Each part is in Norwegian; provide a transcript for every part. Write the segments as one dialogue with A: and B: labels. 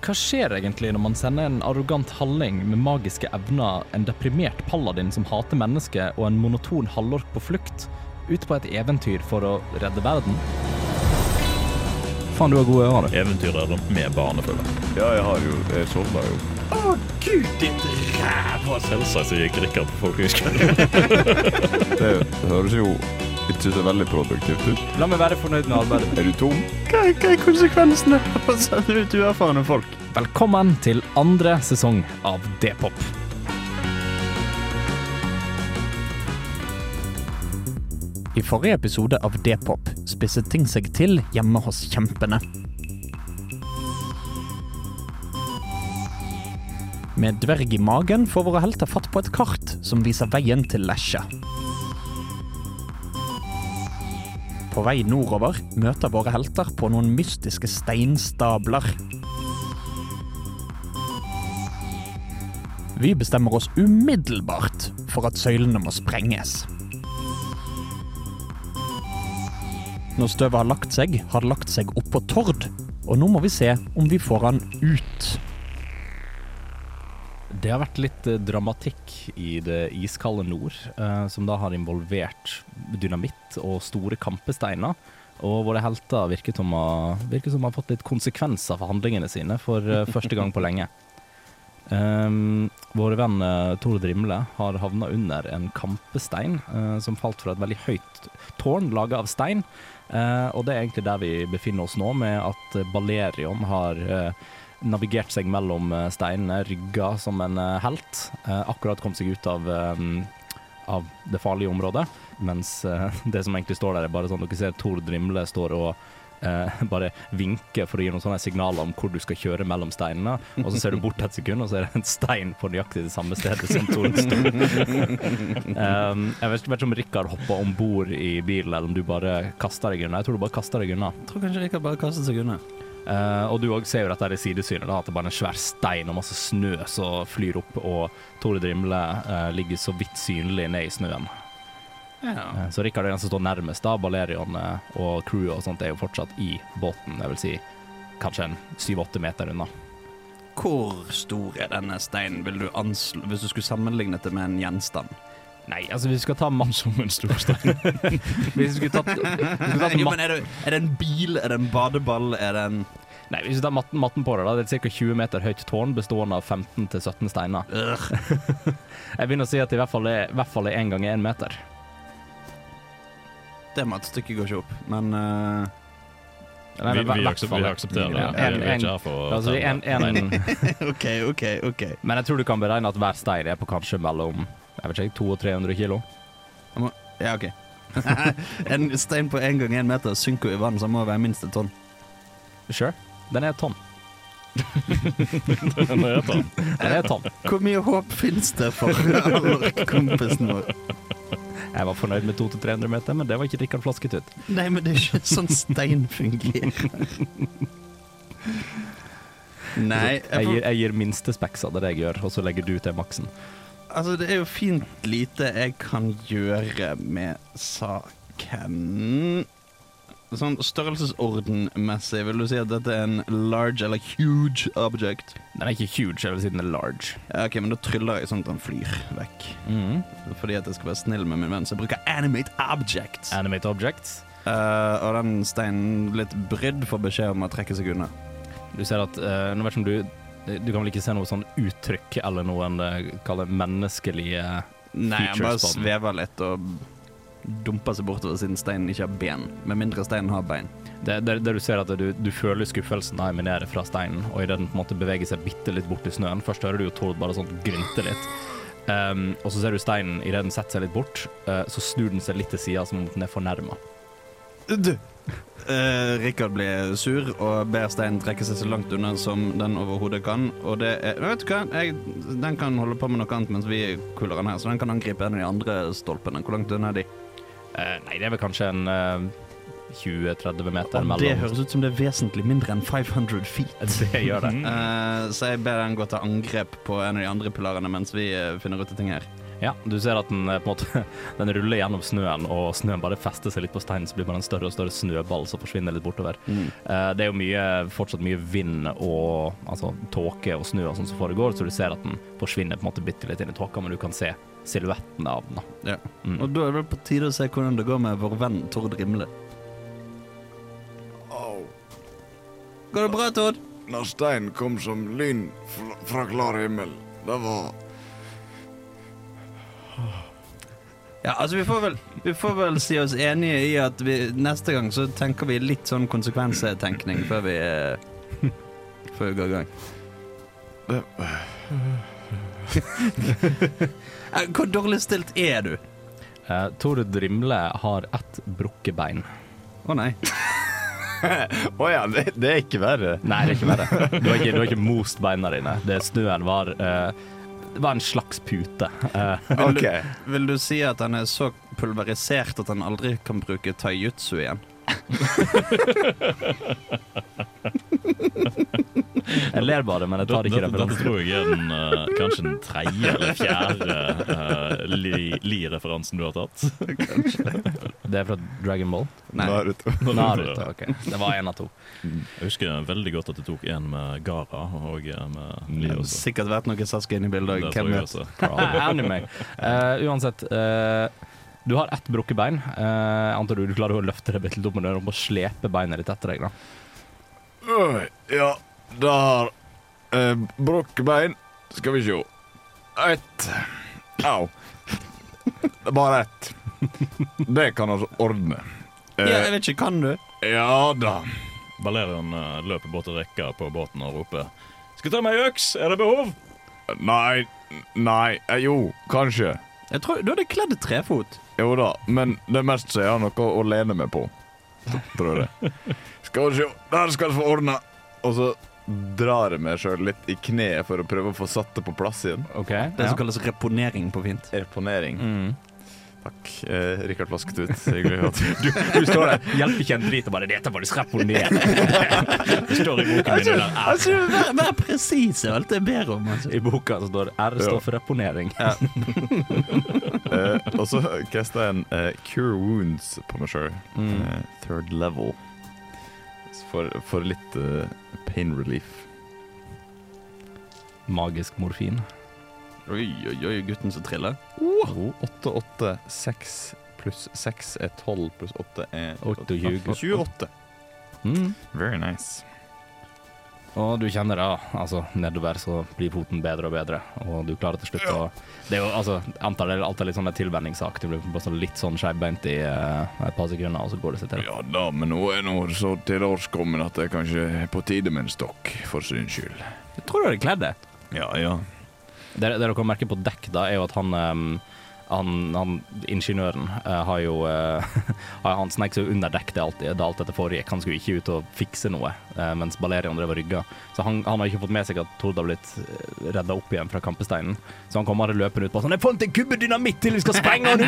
A: Hva skjer egentlig når man sender en arrogant halling med magiske evner, en deprimert paladin som hater mennesker, og en monoton halvork på flukt, ut på et eventyr for å redde verden?
B: Faen, du har gode ører, du.
C: Eventyrere med barnefølge.
B: Ja, jeg har jo Jeg sovna jo.
C: Selvsagt så gikk Rikard på folkehøyskolen.
B: Det høres jo ikke så veldig produktivt ut.
A: La meg være fornøyd med arbeidet.
B: Er du tom?
D: Hva, er- hva er konsekvensene av å sende ut uerfarne folk?
A: Velkommen til andre sesong av D-pop.
D: I forrige episode av D-pop spisset ting seg til hjemme hos kjempene. Med dverg i magen får våre helter fatt på et kart som viser veien til Lesja. På vei nordover møter våre helter på noen mystiske steinstabler. Vi bestemmer oss umiddelbart for at søylene må sprenges. Når støvet har lagt seg, har det lagt seg oppå Tord. Og nå må vi se om vi får han ut.
A: Det har vært litt eh, dramatikk i det iskalde nord, eh, som da har involvert dynamitt og store kampesteiner. Og våre helter virker som å virker som å ha fått litt konsekvenser for handlingene sine for eh, første gang på lenge. Um, vår venn eh, Tord Rimle har havna under en kampestein eh, som falt fra et veldig høyt tårn laga av stein. Eh, og det er egentlig der vi befinner oss nå, med at eh, Balerion har eh, navigert seg mellom eh, steinene, rygga som en eh, helt. Eh, akkurat kom seg ut av, eh, av det farlige området. Mens eh, det som egentlig står der, er bare sånn dere ser Tord Rimle står og eh, bare vinker for å gi noen sånne signaler om hvor du skal kjøre mellom steinene. Og så ser du bort et sekund, og så er det en stein på nøyaktig det samme stedet som Tord sto. um, jeg vet vet ikke om Rikard hoppa om bord i bilen, eller om du bare kasta deg unna. Jeg tror du bare kasta deg unna.
E: Jeg tror kanskje Rikard bare kastet seg unna.
A: Eh, og du òg ser jo dette her i sidesynet, da, at det bare er en svær stein og masse snø som flyr opp, og Tore Drimle eh, ligger så vidt synlig ned i snøen.
E: Ja.
A: Eh, så Rikard er den som står nærmest, da. Balerion eh, og crewet og sånt er jo fortsatt i båten, jeg vil si kanskje en syv-åtte meter unna.
E: Hvor stor er denne steinen, vil du anslå, hvis du skulle sammenlignet det med en gjenstand?
A: Nei, altså vi skal ta mann som en stor stein. hvis vi skulle tatt, vi skulle tatt
E: Jo,
A: matten-
E: men er det, er det en bil? Er det en badeball? Er det en
A: Nei, hvis vi tar matten, matten på det, da. Det er et ca. 20 meter høyt tårn bestående av 15-17 steiner.
E: Ugh.
A: Jeg begynner å si at det i hvert fall er, i hvert fall er en gang én meter.
E: Det matstykket går ikke opp, men eh,
A: Nei,
C: Vi,
A: men i
C: vi,
A: hvert
C: aksep-
A: fall-
C: vi aksepterer det.
A: Ja,
C: Vi
A: en-
C: er
A: en-
C: ikke her for å
A: Altså,
C: telle.
A: en, en,
E: OK, OK, OK.
A: men jeg tror du kan beregne at hver stein er på kanskje mellom jeg vet ikke, 200 og 300 kilo.
E: Ja, OK. en stein på én gang én meter synker jo i vann, så den må være minst et tonn.
A: Sure. Den er et tonn.
C: Nå er det sånn.
A: Den er et tonn.
E: Hvor mye håp fins det for Alork-kompisen vår?
A: Jeg var fornøyd med 200-300 meter, men det var ikke Rikard Flasketut.
E: Nei, men det er ikke sånn stein fungerer. Nei,
A: Jeg
E: jeg,
A: gir, jeg gir minste speks av det jeg gjør, og så legger du til maksen.
E: altså det er jo fint lite jeg kan gjøre med saken. Sånn størrelsesordenmessig, vil du si at dette er en large eller huge object?
A: Den er ikke huge, jeg vil si den er large.
E: Ja, ok, men da tryller jeg sånn at den flyr vekk.
A: Mm.
E: Fordi at jeg skal være snill med min venn, så jeg bruker animate objects.
A: Animate objects.
E: Eh, og den steinen, litt brydd, får beskjed om å trekke seg unna.
A: Du ser at eh, Nå vet ikke om du Du kan vel ikke se noe sånn uttrykk eller noen eh, kall det menneskelige
E: Nei, han
A: features
E: bare
A: på den.
E: svever litt og dumper seg bortover siden steinen ikke har ben. Med mindre steinen har bein.
A: Det, det, det du ser at du, du føler skuffelsen da eminere fra steinen, og idet den på en måte beveger seg bitte litt bort i snøen Først hører du jo Tord bare sånn grynte litt, Ehm, og så ser du steinen idet den setter seg litt bort, eh, så snur den seg litt til sida som om den er fornærma.
E: Du! Eh, Rikard blir sur og ber steinen trekke seg så langt unna som den overhodet kan. Og det er Men Vet du hva? Jeg, den kan holde på med noe annet mens vi kuler den her, så den kan angripe en av de andre stolpene. Hvor langt unna er de?
A: Uh, nei, det er vel kanskje en eh, 20-30 meter mellom
E: ut som det er vesentlig mindre enn 500 feet.
A: Det gjør det.
E: så jeg ber den gå til angrep på en av de andre pilarene mens vi eh, finner ut av ting her.
A: Ja, du ser at den eh, på en måte Den ruller gjennom snøen, og snøen bare fester seg litt på steinen, så blir det bare en større og større snøball som forsvinner litt bortover.
B: Mm.
A: Eh, Det er jo mye, fortsatt mye vind og altså, tåke og snø og sånn som foregår, så du ser at den forsvinner på en måte bitte litt inn i tåka, men du kan se silhuetten av den. da.
E: Ja.
A: Mm.
E: Og da er det på tide å se hvordan det går med vår venn Tord Rimle. Går det bra, Tord?
F: Når stein kom som lyn fra, fra klar himmel. Det var
E: Ja, altså vi får, vel, vi får vel si oss enige i at vi, neste gang så tenker vi litt sånn konsekvensetenkning før vi eh, Før vi går i gang.
F: det,
E: Eh, Hvor dårlig stilt er du?
A: Eh, Tord Rimle har ett brukket bein.
E: Å nei.
B: Å ja, det, det er ikke verre.
A: Nei, det er ikke verre. Du har ikke, du har ikke most beina dine. Det snøen var eh, Det var en slags pute. Eh,
E: Vil,
B: Ok.
E: du, vil du si at han er så pulverisert at han aldri kan bruke taijutsu igjen?
A: jeg ler bare, men jeg tar ikke
C: Dette, dette
A: referansen.
C: tror jeg er den, eh, kanskje den tredje eller fjerde eh, li- Li-referansen du har tatt.
A: Det er fra Dragon Ball.
E: Nei.
B: Naruto.
A: Naruto, ok. Det var én av to.
C: Jeg husker veldig godt at du tok en med Gara og eh, med Li
E: Det har
C: også.
E: sikkert vært noe Saske inne i bildet.
C: Det
E: Hvem
C: tror jeg
E: vet?
C: også.
A: Anime. Eh, uansett, eh, du har ett brukket bein. Eh, Jeg antar du, du klarer å løfte det bitte litt opp med døren og slepe beinet ditt etter deg. da.
F: Øy, Ja, det har eh, brukket bein. Skal vi sjå. Ett. Au. Bare ett. Det kan vi ordne.
E: Ja,
F: Eh,
E: jeg vet ikke. Kan du?
F: ja da.
C: Valerian eh, løper bort til rekka på båten og roper Skal du ta meg ei øks? Er det behov?
F: Nei. Nei. Eh, jo, kanskje.
E: Jeg tror, Du hadde kledd trefot.
F: Jo da, men det mest så jeg har noe å lene meg på. Tror jeg. Skal vi sjå. Der skal vi få ordna.
B: Og så drar jeg meg sjøl litt i kneet for å prøve å få satt det på plass igjen.
A: Ok?
E: Det som kalles reponering på fint.
B: Reponering.
A: Mm.
B: Takk. Eh, Rikard Flasketut. Hyggelig at
A: Du, du står der, hjelper ikke en drit og bare 'Dette var det reponert'.
C: Det står i boken min. det der.
E: Altså, vær, vær presis i alt jeg ber om. Altså.
A: I boka så står det 'R står for reponering'.
B: Eh, og så kasta jeg en eh, Cure Wounds på meg sjøl.
A: Mm.
B: Eh, third level. For, for litt eh, pain relief.
A: Magisk morfin.
E: Oi, oi, oi, gutten som triller.
B: 8, 8, 6 pluss 6 er 12, pluss 8 er
A: Åtte og tjue.
B: 28.
A: Mm.
B: Very nice.
A: Og du kjenner da, altså nedover så blir foten bedre og bedre, og du klarer til slutt å Det er jo altså, jeg antar det er alltid litt sånn en tilvenningssak. Du blir bare sånn litt sånn skeivbeint i eh, et par sekunder, og så går det seg til.
F: Ja da, men nå er nå så til års kommet at det er kanskje på tide med en stokk, for syns skyld.
E: Jeg tror du hadde kledd det.
F: Ja, ja.
A: Det, det dere kan merke på dekk, da, er jo at han ehm, han, han ingeniøren eh, har jo eh, Han snek seg jo under dekk det alltid, da alt dette foregikk. Han skulle ikke ut og fikse noe eh, mens Balerion drev og rygga. Så han, han har ikke fått med seg at Tord har blitt redda opp igjen fra kampesteinen. Så han kommer løpende ut bare sånn 'Jeg fant en kubbe dynamitt til! Vi skal sprenge han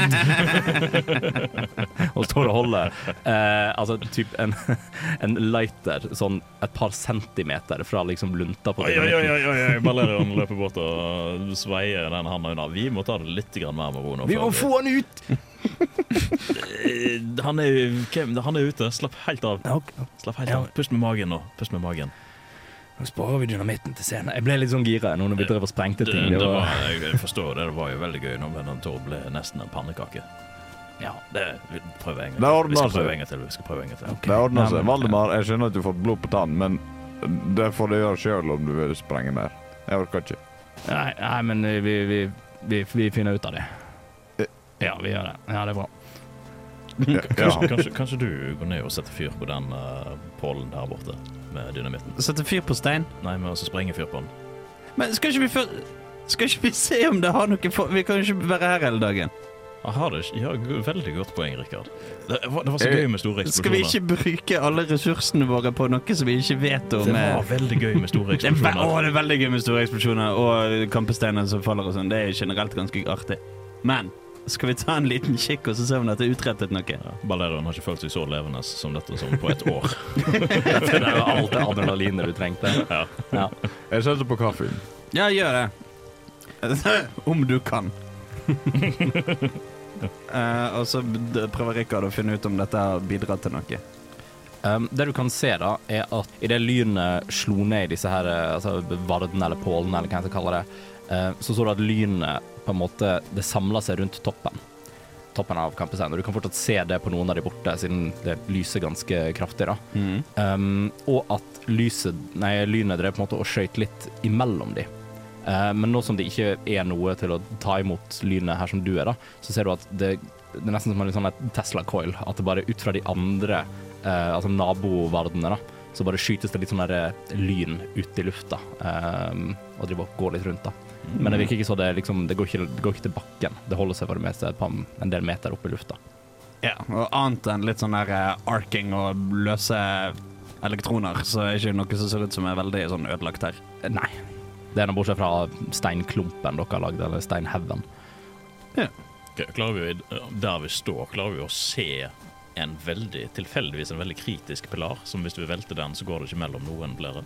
A: ut!' og står og holder eh, altså typ en, en lighter sånn et par centimeter fra liksom lunta på
C: Oi, oi, oi,
A: dynamitten.
C: oi, oi. Valerian løper bort og sveier den handa unna. Vi må ta det litt grann mer med ro nå. før
A: han ut!
C: Eh, Han er, hvem, han er ute. Slapp helt av. Slapp helt av.
A: Ja.
C: Pust med magen nå. Pust med magen.
A: Nå sparer vi dynamitten til scenen. Jeg ble litt sånn gira nå når vi drev og sprengte
C: Det,
A: ting.
C: det var, jeg jeg forstår det. Det var jo veldig gøy når men Tord ble nesten en pannekake. Ja, det vi prøver en gang
B: Det
C: til. Vi
B: ordner
E: altså.
C: skal
B: seg.
C: prøve en gang til. Vi skal prøve en gang til.
B: Det ordner
A: Nei,
B: seg.
A: men-
B: Valdemar, jeg skjønner at du får blod på tann, men det får du gjøre sjøl om du vil sprenge mer. Jeg orker ikke.
A: Nei, nei, men eh, vi, vi, vi, vi finner ut av det. Ja, vi gjør det. Ja, det er bra.
B: Ja,
C: Kanskje,
B: ja.
C: kanskje, kanskje du går ned og setter fyr på den eh, pålen der borte med dynamitten?
E: Sette fyr på stein.
C: Nei, men altså sprenge fyr på den.
E: Men skal ikke vi før Skal ikke vi se om det har noe for... Vi kan jo ikke være her hele dagen.
C: Jeg har det ikke. Ja, g- veldig godt poeng, Rikard. Det, var- det var så
B: Jeg-
C: gøy med store eksplosjoner.
E: Skal vi ikke bruke alle ressursene våre på noe som vi ikke vet om?
C: Det
E: eh,
C: var veldig gøy med store
E: Det er, ve
C: eksplosjoner.
E: Åh, det er veldig gøy med store eksplosjoner og kampesteiner som faller og sånn. Det er generelt ganske artig. Men skal vi ta en liten kikk og så se om dette er utrettet noe?
C: Ja, Balerion har ikke følt seg så levende som dette som på et år.
A: Det er jo alt det adrenalinet du trengte.
C: Ja.
A: Ja.
B: Jeg setter på kaffen.
E: Ja, gjør det. om du kan. Eh, og så d- prøver Rikard å finne ut om dette har bidratt til noe.
A: Um, det du kan se, da, er at idet lynet slo ned i disse her eh, altså vardene eller pålene, eller hva jeg skal kalle det, eh, så så du at lynet på en måte Det samla seg rundt toppen. Toppen av campussteinen. Og du kan fortsatt se det på noen av de borte, siden det lyser ganske kraftig, da. Um, og at lyset, nei, lynet drev på en måte og skøyt litt imellom de. Eh, men nå som det ikke er noe til å ta imot lynet her som du er, da, så ser du at det, det er nesten som en litt sånn et Tesla-coil. At det bare ut fra de andre, eh, altså naboverdene, da, så bare skytes det litt sånn der eh, lyn ut i lufta. eh, og driver og går litt rundt, da. Men det virker ikke så det liksom Det går ikke, det går ikke til bakken. Det holder seg for det meste et par, en del meter opp i lufta.
E: Ja, og annet enn litt sånn der eh, arking og løse elektroner, så er ikke noe som ser ut som er veldig sånn ødelagt her.
A: Eh, Nei. Det er nå bortsett fra steinklumpen dere har lagd, eller steinhaugen.
C: Ok, Klarer vi, å- der vi står, klarer vi å se en veldig, tilfeldigvis en veldig kritisk pilar, som hvis du velter den, så går det ikke mellom noen flere?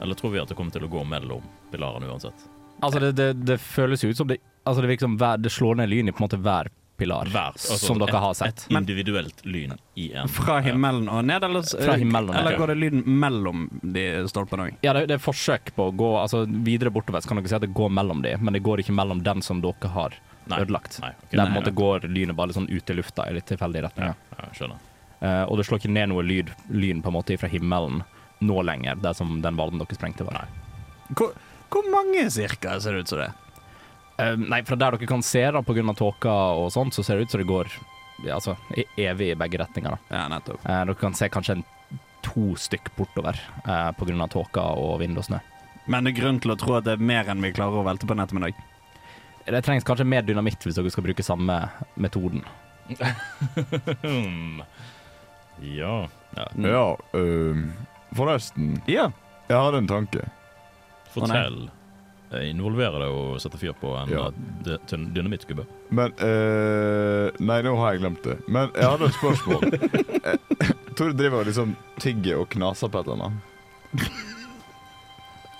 C: Eller tror vi at det kommer til å gå mellom pilarene uansett?
A: Altså, det, det, det føles jo ut som det Altså, det virker som hver, det slår ned lyn i på en måte hver pilar,
C: Hver, altså
A: som dere
C: et-
A: har sett.
C: Et individuelt lyn i en
E: Fra himmelen og ned, eller, s-
A: Fra himmelen og ned,
E: eller
A: ja.
E: går det lyden mellom de stolpene òg?
A: Ja, det, det er forsøk på å gå altså, videre bortover. Så kan dere si at det går mellom de, men det går ikke mellom den som dere har
C: Nei.
A: ødelagt.
C: Nei, ok,
A: Der på
C: nei,
A: en måte går lynet bare litt sånn ut i lufta i litt tilfeldige
C: Ja,
A: retninger.
C: ja, skjønner.
A: Eh, og det slår ikke ned noe lyd, lyn på en måte fra himmelen nå lenger, der som den verden dere sprengte var. Nei.
E: Hvor, hvor mange cirka ser det ut som det? er?
A: Eh, nei, fra der dere kan se, da, på grunn av tåka og sånt, så ser det ut som det går ja, altså, e- evig i begge retninger. da.
E: Ja, nettopp.
A: Eh, dere kan se kanskje en, to stykk bortover eh, pga. tåka og vind og snø.
E: Men det er grunn til å tro at det er mer enn vi klarer å velte på en ettermiddag.
A: Det trengs kanskje mer dynamitt hvis dere skal bruke samme metoden.
C: Hmm. Ja.
B: Ja, øhm, forresten.
E: Ja.
B: Jeg hadde en tanke.
C: Fortell. Eh, Involverer det å sette fyr på en
B: Ja.
C: eh, dy- tyn- dynamittkubbe?
B: Men eh, Nei, nå har jeg glemt det. Men jeg hadde et spørsmål. Eh, Tor driver og liksom tigger og knaser på et eller annet.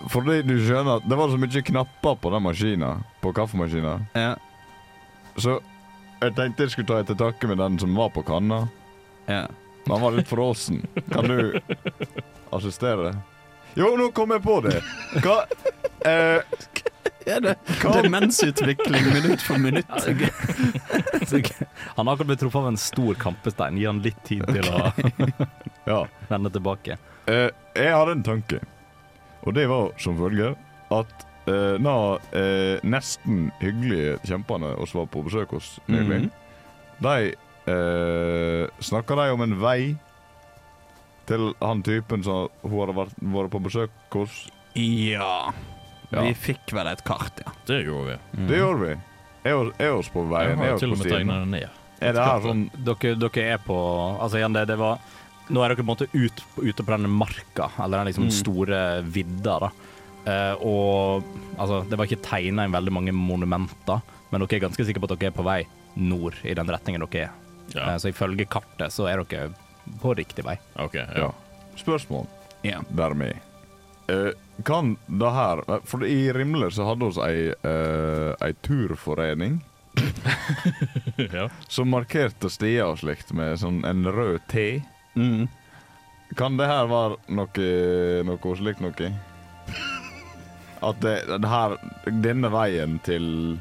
B: Fordi du skjønner at det var så mye knapper på den maskina, på kaffemaskina,
E: Ja.
B: så jeg tenkte jeg skulle ta et til takke med den som var på kanna.
E: ja.
B: Men han var litt fråsen. Kan du assistere? Jo, nå kom jeg på det! Hva eh,
E: Er det demensutvikling minutt for minutt?
A: Han har akkurat blitt truffet av en stor kampestein. Gi han litt tid til å
B: Ja.
A: vende tilbake.
B: Eh, jeg hadde en tanke, og det var som følger at uh, nå eh, nesten hyggelige kjempene vi var på besøk hos nylig,
C: Mhm.
B: de uh, snakka de om en vei til han typen som hun hadde vært, vært på besøk hos.
E: Ja.
B: Ja.
E: Vi fikk vel et kart, ja.
C: Det gjorde vi.
B: Det gjorde vi. Er oss- Er oss på
C: Mhm. Jeg
B: veien?
C: har
B: Er
C: jo
B: oss
C: til
B: på
C: og med
B: stien?
C: tegna det ned.
B: Er det her sånn
A: Dere, dere er på Altså igjen, det, det var Nå er dere på en måte ut, ute på denne marka, eller den liksom store vidda, da. Eh, og altså, det var ikke tegna inn veldig mange monumenter, men dere er ganske sikre på at dere er på vei nord i den retningen dere er.
C: Ja,
A: Eh, Så ifølge kartet så er dere på riktig vei.
C: ok. Ja.
B: Ja. Spørsmål
E: Ja.
B: dermed. Eh, kan det her eh, For i Rimle så hadde vi ei, eh, ei turforening
C: ja.
B: som markerte stier og slikt med sånn en rød T.
C: Mm.
B: Kan det her være noe, noe slikt noe? At det, det her Denne veien til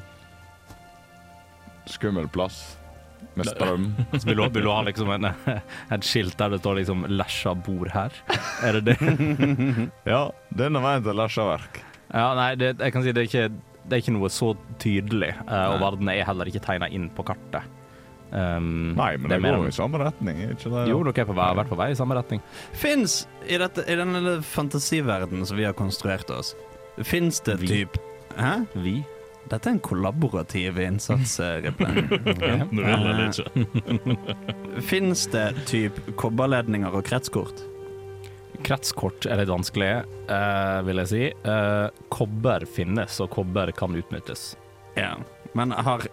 B: skummel plass med strøm.
A: Så vil, du, vil du ha liksom en, et skilt der det står liksom 'Lesja bor her'? Er det det?
B: Ja, denne veien til Lesjaverk.
A: Ja, nei, det, jeg kan si det er ikke, det er ikke noe så tydelig, eh, og verden er heller ikke tegna inn på kartet. Um,
B: Nei, men det,
A: er mer
B: går jo
A: om-
B: i samme retning. er Ikke det?
A: Jo, dere er på vei, vært på vei i samme retning.
E: Fins i, dette- i den lille fantasiverdenen som vi har konstruert oss, fins det
A: Vi.
E: typ Hæ?
A: Vi.
E: Dette er en kollaborativ innsats, eh, Riple.
C: Nå vil jeg litt ikke.
E: Fins det typ kobberledninger og kretskort?
A: Kretskort er litt vanskelig, eh, vil jeg si. Eh, kobber finnes, og kobber kan utnyttes.
E: Ja. Men har,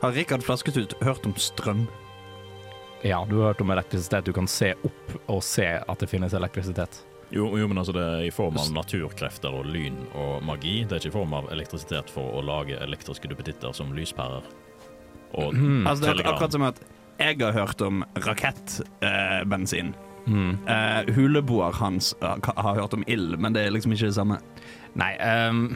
E: har Rikard Flasketut hørt om strøm?
A: Ja, du har hørt om elektrisitet. Du kan se opp og se at det finnes elektrisitet.
C: Jo, jo, men altså det er i form av naturkrefter og lyn og magi. Det er ikke i form av elektrisitet for å lage elektriske duppetitter som lyspærer. Og
E: Altså, det er
C: telegram.
E: akkurat som at jeg har hørt om rakettbensin.
A: Mm.
E: Eh, huleboer hans eh, ka- har hørt om ild, men det er liksom ikke det samme.
A: Nei, ehm,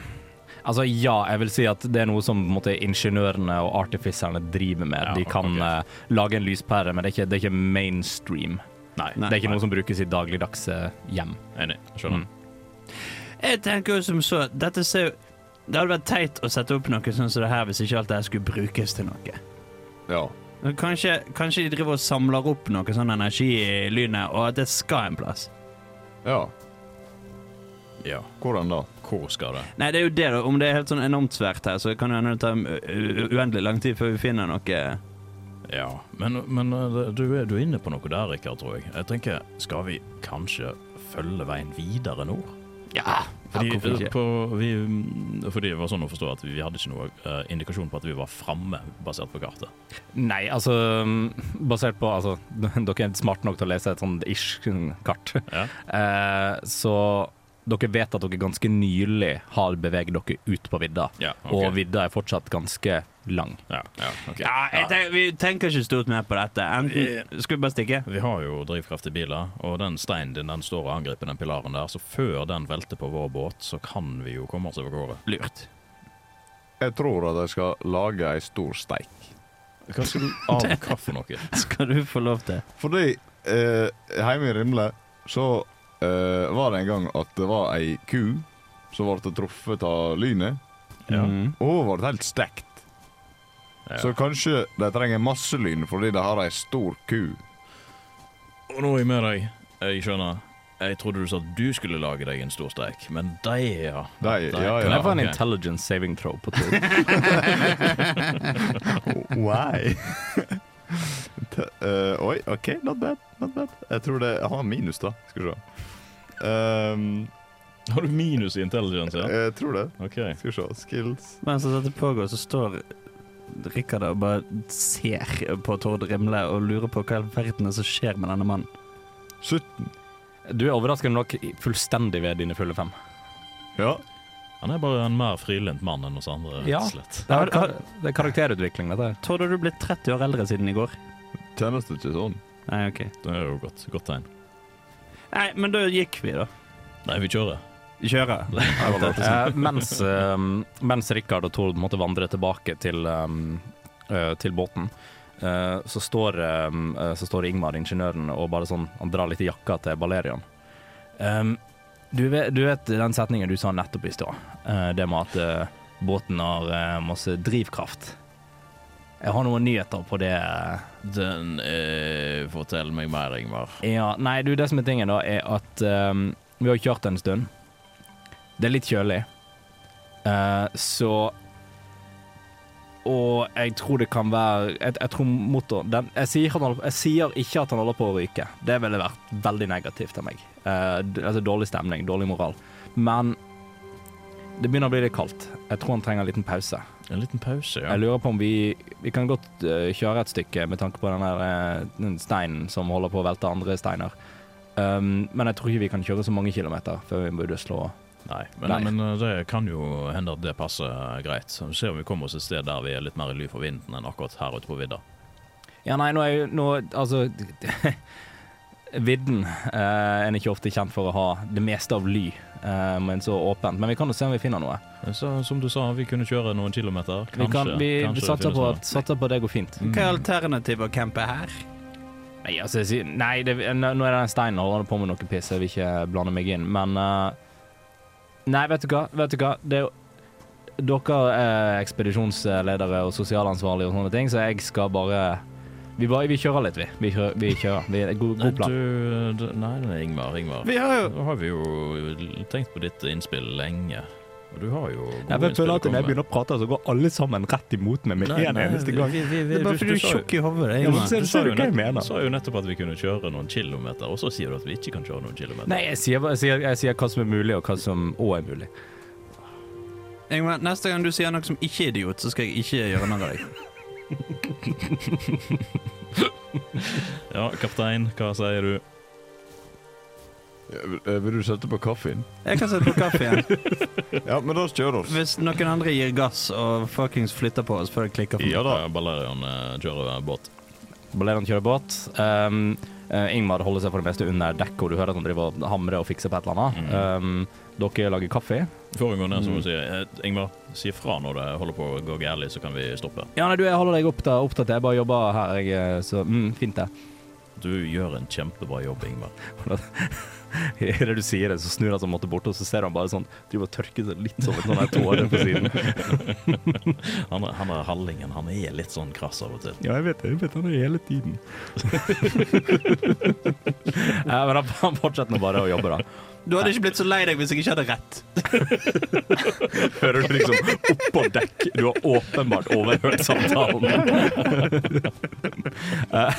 A: altså ja, jeg vil si at det er noe som på en måte, ingeniørene og artificerne driver med.
C: Ja,
A: De kan
C: ok.
A: eh, lage en lyspære, men det er ikke, det er ikke mainstream.
C: Nei,
E: Nei.
A: det er ikke noe som brukes i dagligdagse hjem.
C: enig. Skjønner.
E: Jeg tenker jo som så Dette ser jo Det hadde vært teit å sette opp noe sånn som det her hvis ikke alt det her skulle brukes til noe.
B: Ja.
E: Men Kanskje, kanskje de driver og samler opp noe sånn energi i lynet, og at det skal en plass.
B: ja.
C: Ja.
B: Hvordan da?
C: Hvor skal det?
E: Nei, det er jo det, da. Om det er helt sånn enormt svært her, så kan det hende det tar eh, u- u- uendelig lang tid før vi finner noe.
C: Ja, men, men eh, det- du, er, du er inne på noe der, Rikard, tror jeg. Jeg tenker, skal vi kanskje følge veien videre nord?
E: Ja,
C: Fordi,
E: hvorfor
C: eh,
E: ikke?
C: på, vi, fordi det var sånn å forstå at vi hadde ikke noe eh, indikasjon på at vi var framme, basert på kartet.
A: Nei, altså mm, Basert på altså, Dere er smarte nok til å lese et sånt ish-kart.
C: Ja.
A: Eh, så dere vet at dere ganske nylig har beveget dere ut på vidda,
C: Ja, ok.
A: og vidda er fortsatt ganske lang.
C: Ja, ja, ok.
E: Ja, jeg tenker, vi tenker ikke stort mer på dette. Enten skal vi bare stikke.
C: Vi har jo drivkraftige biler, og den steinen din den står og angriper den pilaren der, så før den velter på vår båt, så kan vi jo komme oss over gårde.
E: Lurt.
B: Jeg tror at jeg skal lage ei stor steik.
C: Hva skal du av hva for noe?
E: Skal du få lov til?
B: Fordi eh, hjemme i Rimle så eh, var det en gang at det var ei ku som ble truffet av lynet,
C: Ja.
E: Mm.
B: og hun ble helt stekt.
C: Ja.
B: Så kanskje de trenger masse lyn fordi de har ei stor ku.
C: Og nå er jeg med deg. Jeg skjønner. Jeg trodde du sa at du skulle lage deg en stor steik, men de, ja.
B: De, ja,
A: Kan
B: ja.
A: jeg få en
C: ok.
A: intelligence saving throw på to?
B: Why? T- eh, oi, OK, not bad. Not bad. Jeg tror det jeg har minus, da. Skal vi se. Ehm,
C: Har du minus i intelligence, ja?
B: Jeg tror det.
C: Ok.
B: Skal vi se. Skills.
E: Mens dette pågår, så står Rikard og bare ser på Tord Rimle og lurer på hva i all verden er som skjer med denne mannen.
B: 17.
A: Du er overraskende nok fullstendig ved dine fulle fem.
B: Ja.
C: Han er bare en mer frilynt mann enn oss andre, rett
A: Ja.
C: og slett.
A: Det er, kar det er karakterutvikling, dette her.
E: Tord, har du blitt 30 år eldre siden i går?
B: Kjennes det ikke sånn?
E: Nei, ok.
C: Det er jo godt, godt tegn.
E: Nei, men da gikk vi, da.
C: Nei, vi kjører.
E: Kjøre.
A: Eh, mens, eh, mens Rikard og Tord måtte vandre tilbake til, eh, eh, til båten, eh, så, står, eh, eh, så står Ingmar, ingeniøren, og bare sånn, han drar litt i jakka til Balerion. Ehm, du, vet, du vet den setningen du sa nettopp i stad, eh, det med at eh, båten har eh, masse drivkraft. Jeg har noen nyheter på det.
C: Den eh, Fortell meg mer, Ingvar.
A: Ja, nei, du, det som er tingen da, er at ehm, vi har kjørt en stund. Det er litt kjølig. Eh, så Og jeg tror det kan være Jeg, jeg tror motoren den, jeg, sier han, holder- jeg sier ikke at han holder på å ryke. Det ville vært veldig negativt av meg. Eh, d- altså dårlig stemning, dårlig moral. Men det begynner å bli litt kaldt. Jeg tror han trenger en liten pause.
C: En liten pause, ja.
A: Jeg lurer på om vi Vi kan godt eh, kjøre et stykke med tanke på den der eh, den steinen som holder på å velte andre steiner. Um, men jeg tror ikke vi kan kjøre så mange kilometer før vi burde slå
C: Nei, men,
A: Nei.
C: men eh, det kan jo hende at det passer greit. Så vi ser om vi kommer oss et sted der vi er litt mer i ly for vinden enn akkurat her ute på vidda.
A: Ja, nei, nå er jo nå, Altså Vidden eh, en er ikke ofte kjent for å ha det meste av ly, eh, men så åpent. Men vi kan jo se om vi finner noe.
C: Eh, Så, som du sa, vi kunne kjøre noen kilometer. Kanskje.
A: Vi, kan, vi,
C: kanskje sånn.
A: vi
C: det
A: satser
C: finnes
A: på,
C: noe.
A: at, satser på at det går fint.
E: Hva er alternativet å campe her?
A: Nei, altså, jeg sier, nei det, nå nå er det den steinen og holder på med noe piss, jeg vil ikke blande meg inn, men eh, Nei, vet du hva? Vet du hva? Det er jo Dere er ekspedisjonsledere og sosialansvarlige og sånne ting, så jeg skal bare Vi, bare, vi kjører litt, vi. Vi kjører. Vi kjører. Vi, god,
C: Nei,
A: god plan.
C: du, d- nei, nei, Ingvar. Ingvar.
E: Vi har jo
C: Nå har vi jo tenkt på ditt innspill lenge. Og du har jo gode
A: å prate, så går alle sammen rett imot meg
C: Vi, vi, vi,
E: Det er bare fordi du er tjukk i hodet. det er
A: Ja, men
E: ingen-
A: se-
C: Du sa
A: ser du
C: jo
A: hva jeg
C: nett-
A: mener?
C: sa jo nettopp at vi kunne kjøre noen kilometer, og så sier du at vi ikke kan kjøre noen kilometer.
A: Nei, jeg sier, jeg, sier, jeg sier hva som er mulig, og hva som òg er mulig.
E: Ingmar, neste gang du sier noe som ikke er idiot, så skal jeg ikke gjøre narr av deg.
C: Ja, kaptein, hva sier du?
B: Eh, Vil du sette på kaffen?
E: Jeg kan sette på kaffen.
B: Ja, men da kjører vi.
E: Hvis noen andre gir gass og fuckings flytter på oss før det klikker for
C: Ja da. Balerion eh, kjører eh, båt.
A: Balerion kjører båt. Um, eh, Ingmar holder seg for det meste under dekk, og du hører at han driver og hamrer og fikser på et eller annet. Um, dere lager kaffe.
C: Foregående, som hun sier. eh, Ingvar, si fra når det holder på å gå gærlig, så kan vi stoppe.
A: Ja, nei, du, jeg holder deg oppta- oppdatert. Jeg bare jobber her, jeg, eh, så mm, fint det.
C: Du gjør en kjempebra jobb, Ingvar.
A: Idet du sier det, så snur han seg måtte bort, og så ser han bare sånn Driver og tørker seg litt som en sånn her tåre på siden.
C: Han, er- han er hallingen. Han er litt sånn krass av og til.
B: Ja, jeg vet det. Jeg vet han er hele tiden.
A: Eh, men han- han fortsetter nå bare å jobbe, da.
E: Du hadde ikke blitt så lei deg hvis jeg ikke hadde rett.
A: Hører du liksom oppå dekk? Du har åpenbart overhørt samtalen. Eh,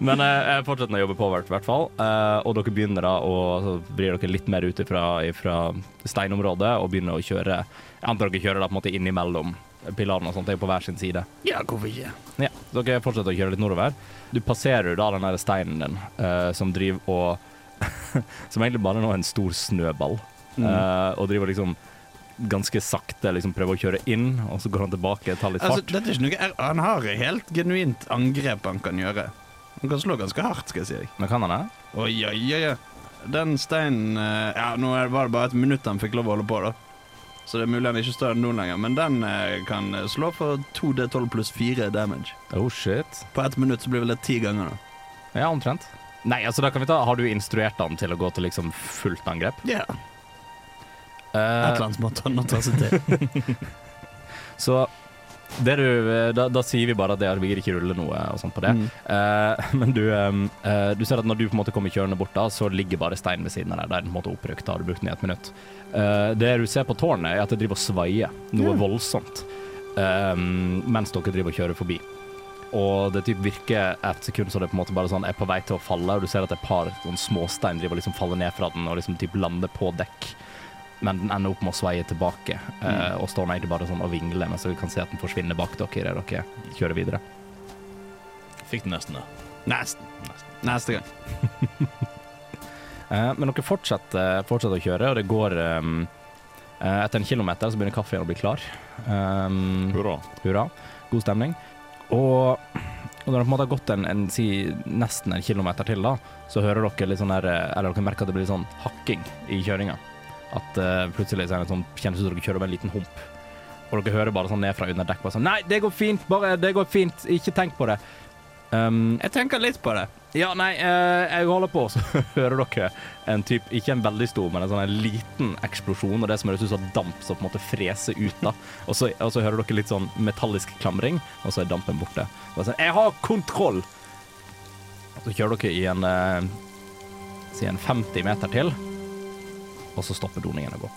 A: Men eh, jeg fortsetter å jobbe på hvert, hvert fall. Eh, Og dere begynner da å så vrir dere litt mer ut fra steinområdet og begynner å kjøre Jeg antar dere kjører da på en måte innimellom pilarene og sånt, det er jo på hver sin side.
E: Ja, hvorfor ikke?
A: Ja, så dere fortsetter å kjøre litt nordover. Du passerer jo da den der steinen din, eh, som driver og Som egentlig bare nå er en stor snøball, eh, og driver liksom ganske sakte liksom prøver å kjøre inn, og så går han tilbake, tar litt
E: Altså,
A: fart.
E: dette er ikke noe er- Han har et helt genuint angrep han kan gjøre. Han kan slå ganske hardt, skal jeg si deg.
A: Men kan han det?
E: Oi, oi, oi. oi. Den steinen eh, Ja, nå er det bare, bare et minutt han fikk lov å holde på, da. Så det er mulig han ikke står der nå lenger, men den eh, kan slå for 2D12 pluss 4 damage.
A: Oh shit.
E: På ett minutt så blir vel det ti ganger, da.
A: Ja, omtrent. Nei, altså da kan vi ta Har du instruert han til å gå til liksom fullt angrep?
E: Ja. Et
A: Eh,
E: eller annet måte han må ta seg til.
A: Så det du, eh, da, da sier vi bare at det er- vi gir ikke rulle noe og sånt på det.
E: Mm.
A: Eh, men du, em, eh, du ser at når du på en måte kommer kjørende bort da, så ligger bare steinen ved siden av deg. Der den på en måte opprykt, da har du brukt den i et minutt. Eh, det du ser på tårnet er at det driver og svaier noe voldsomt em, mens dere driver og kjører forbi. Og det typ virker et sekund som det på en måte bare sånn er på vei til å falle, og du ser at et par sånn småstein driver og liksom faller ned fra den og liksom typ lander på dekk men den ender opp med å sveie tilbake. eh, og står nå egentlig bare sånn og vingler, men så kan se at den forsvinner bak dere idet dere kjører videre.
C: Fikk den nesten, da.
E: Nesten. Neste gang.
A: Eh, men dere fortsetter, eh, fortsetter å kjøre, og det går ehm, eh, Etter en kilometer så begynner kaffen å bli klar. Ehm,
B: Hurra.
A: hurra. God stemning. Og, og når det på en måte har gått en, en, si, nesten en kilometer til, da, så hører dere litt sånn der eh, Eller dere merker at det blir sånn hakking i kjøringa. At eh, plutselig så er det sånn, kjennes det ut som dere kjører over en liten hump. Og dere hører bare sånn ned fra under dekk bare sånn Nei, det går fint, bare det går fint, ikke tenk på det. Um,
E: Jeg tenker litt på det.
A: ja, nei, eh, jeg holder på, så hører dere en typ, ikke en veldig stor, men en sånn en liten eksplosjon, og det som høres ut som damp som på en måte freser ut da. Og så, og så hører dere litt sånn metallisk klamring, og så er dampen borte. Og så, jeg har kontroll! Og så kjører dere i en, eh, si en 50 meter til, og så stopper doningen å gå.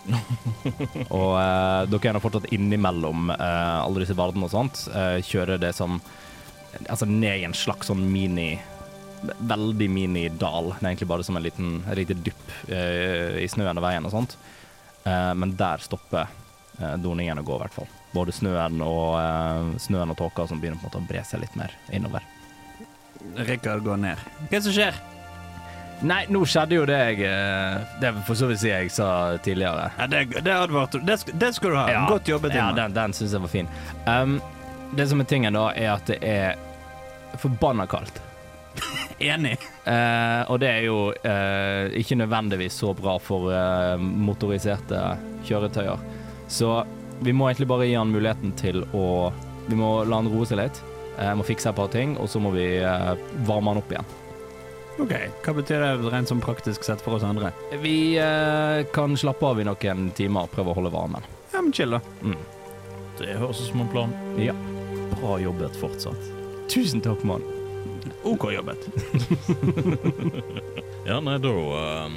A: og eh, dere er nå fortsatt innimellom eh, alle disse vardene og sånt, eh, kjører det som, altså ned i en slags sånn mini veldig mini-dal. Det er egentlig bare som en liten, et lite dypp eh, i snøen og veien og sånt. Eh, men der stopper eh, doningen å gå, i hvert fall. Både snøen og, eh, snøen og tåka som begynner på en måte å bre seg litt mer innover.
E: Rikard går ned. Hva er det som skjer?
A: Nei, nå skjedde jo det jeg eh, Det får så vidt si jeg sa tidligere.
E: Ja, det, det advarte du. Det, sk- det skal du ha. Godt jobbet.
A: Ja,
E: Ingmar.
A: den, den syns jeg var fin. Um, det som er tingen, da, er at det er forbanna kaldt.
E: Enig.
A: Eh, og det er jo eh, ikke nødvendigvis så bra for eh, motoriserte kjøretøyer. Så vi må egentlig bare gi han muligheten til å Vi må la han roe seg litt. eh, må fikse et par ting, og så må vi eh, varme han opp igjen.
E: Ok, Hva betyr det rent sånn praktisk sett for oss andre?
A: Vi eh, kan slappe av i noen timer og prøve å holde varmen.
E: Ja, men chill, da.
C: Det høres ut som en plan.
A: Ja.
C: Bra jobbet fortsatt.
A: Tusen takk, mann.
E: OK jobbet.
C: Ja, nei, da eh,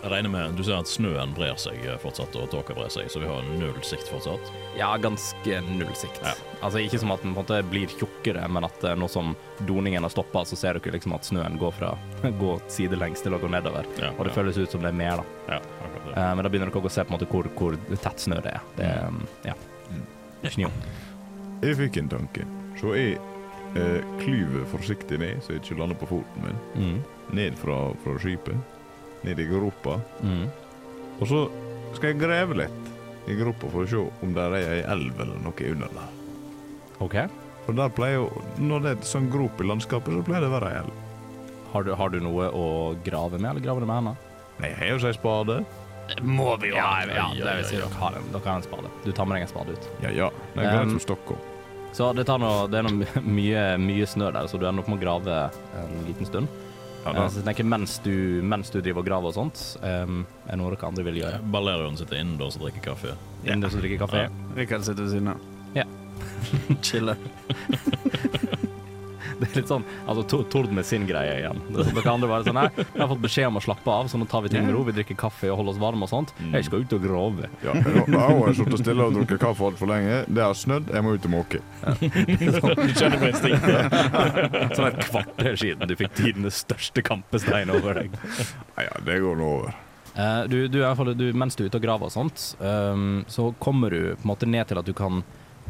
C: Jeg regner med Du ser at snøen brer seg eh, fortsatt, og tåka brer seg, så vi har null sikt fortsatt.
A: Ja, ganske null sikt.
C: Ja.
A: Altså Ikke som at den på en måte blir tjukkere, men at eh, nå som doningen har stoppa, så ser dere liksom at snøen går fra går sidelengs til å gå nedover.
C: Ja,
A: Og det
C: ja.
A: føles ut som det er mer, da.
C: Ja, akkurat det.
A: Eh, Men da begynner dere også å se på en måte hvor, hvor tett snø det er. Det er mm, ja. Snø.
B: Jeg fikk en tanke. Så jeg eh, klyver forsiktig ned, så jeg ikke lander på foten min.
A: Mm.
B: Ned fra, fra skipet. ned i gropa.
A: Mm.
B: Og så skal jeg grave litt i gropa for å se om der er ei elv eller noe under der.
A: OK.
B: For der pleier jo, Når det er sånn grop i landskapet, så pleier det å være ei elv.
A: Har du, har du noe å grave med, eller graver du med hendene?
B: Nei, jeg har jo seg spade.
A: Må vi jo ja,
C: ha.
A: ja, det vil si dere har en, dere har en spade. Du tar med deg en spade ut.
B: Ja ja. Det er greit
A: Um,
B: som stokk opp.
A: Så det, tar noe, det er noe mye, mye snø der, så du ender opp med å grave en liten stund.
B: Ja,
A: Eh,
B: da.
A: Så jeg tenker mens du, mens du driver og graver og sånt, um, er noe dere andre vil gjøre.
C: Balerion sitter innendørs og drikker kaffe.
A: Innendørs og drikker kaffe.
E: Rikard sitter ved siden av.
A: Ja.
E: Chiller.
A: Det er litt sånn altså, Tor- Tord med sin greie igjen. Det er sånn, dere andre bare sånn Nei, vi har fått beskjed om å slappe av, så nå tar vi ting med ro. Vi drikker kaffe og holder oss varme og sånt. Jeg skal ut og grave.
B: Ja, nå, nå har jeg sittet stille og drukket kaffe altfor lenge. Det har snødd, jeg må ut og måke.
C: Du kjenner på instinktet.
A: Sånn et kvarter siden du fikk tidenes største kampestein over deg.
B: Ja, ja, det går nå over.
A: Eh, du, du, er i hvert fall- du, mens du er ute og graver og sånt, ehm, så kommer du på en måte ned til at du kan